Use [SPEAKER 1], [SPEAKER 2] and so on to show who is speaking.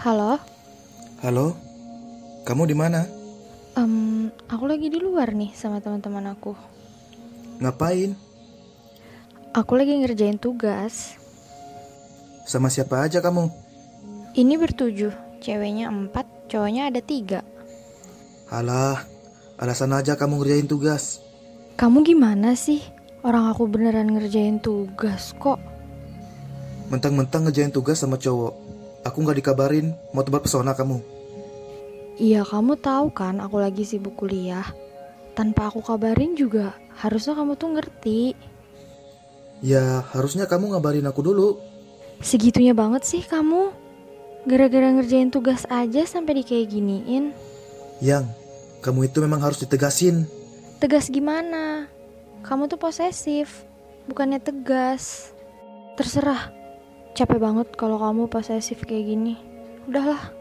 [SPEAKER 1] Halo,
[SPEAKER 2] Halo, kamu di mana?
[SPEAKER 1] Em, aku lagi di luar nih sama teman-teman aku.
[SPEAKER 2] Ngapain?
[SPEAKER 1] Aku lagi ngerjain tugas.
[SPEAKER 2] Sama siapa aja kamu?
[SPEAKER 1] Ini bertujuh, ceweknya empat, cowoknya ada tiga.
[SPEAKER 2] Alah, alasan aja kamu ngerjain tugas.
[SPEAKER 1] Kamu gimana sih? Orang aku beneran ngerjain tugas kok.
[SPEAKER 2] Mentang-mentang ngerjain tugas sama cowok. Aku nggak dikabarin, mau tebar pesona kamu.
[SPEAKER 1] Iya kamu tahu kan aku lagi sibuk kuliah. Tanpa aku kabarin juga, harusnya kamu tuh ngerti.
[SPEAKER 2] Ya, harusnya kamu ngabarin aku dulu.
[SPEAKER 1] Segitunya banget sih kamu. Gara-gara ngerjain tugas aja sampai di kayak giniin.
[SPEAKER 2] Yang, kamu itu memang harus ditegasin.
[SPEAKER 1] Tegas gimana? Kamu tuh posesif, bukannya tegas. Terserah. Capek banget kalau kamu posesif kayak gini. Udahlah,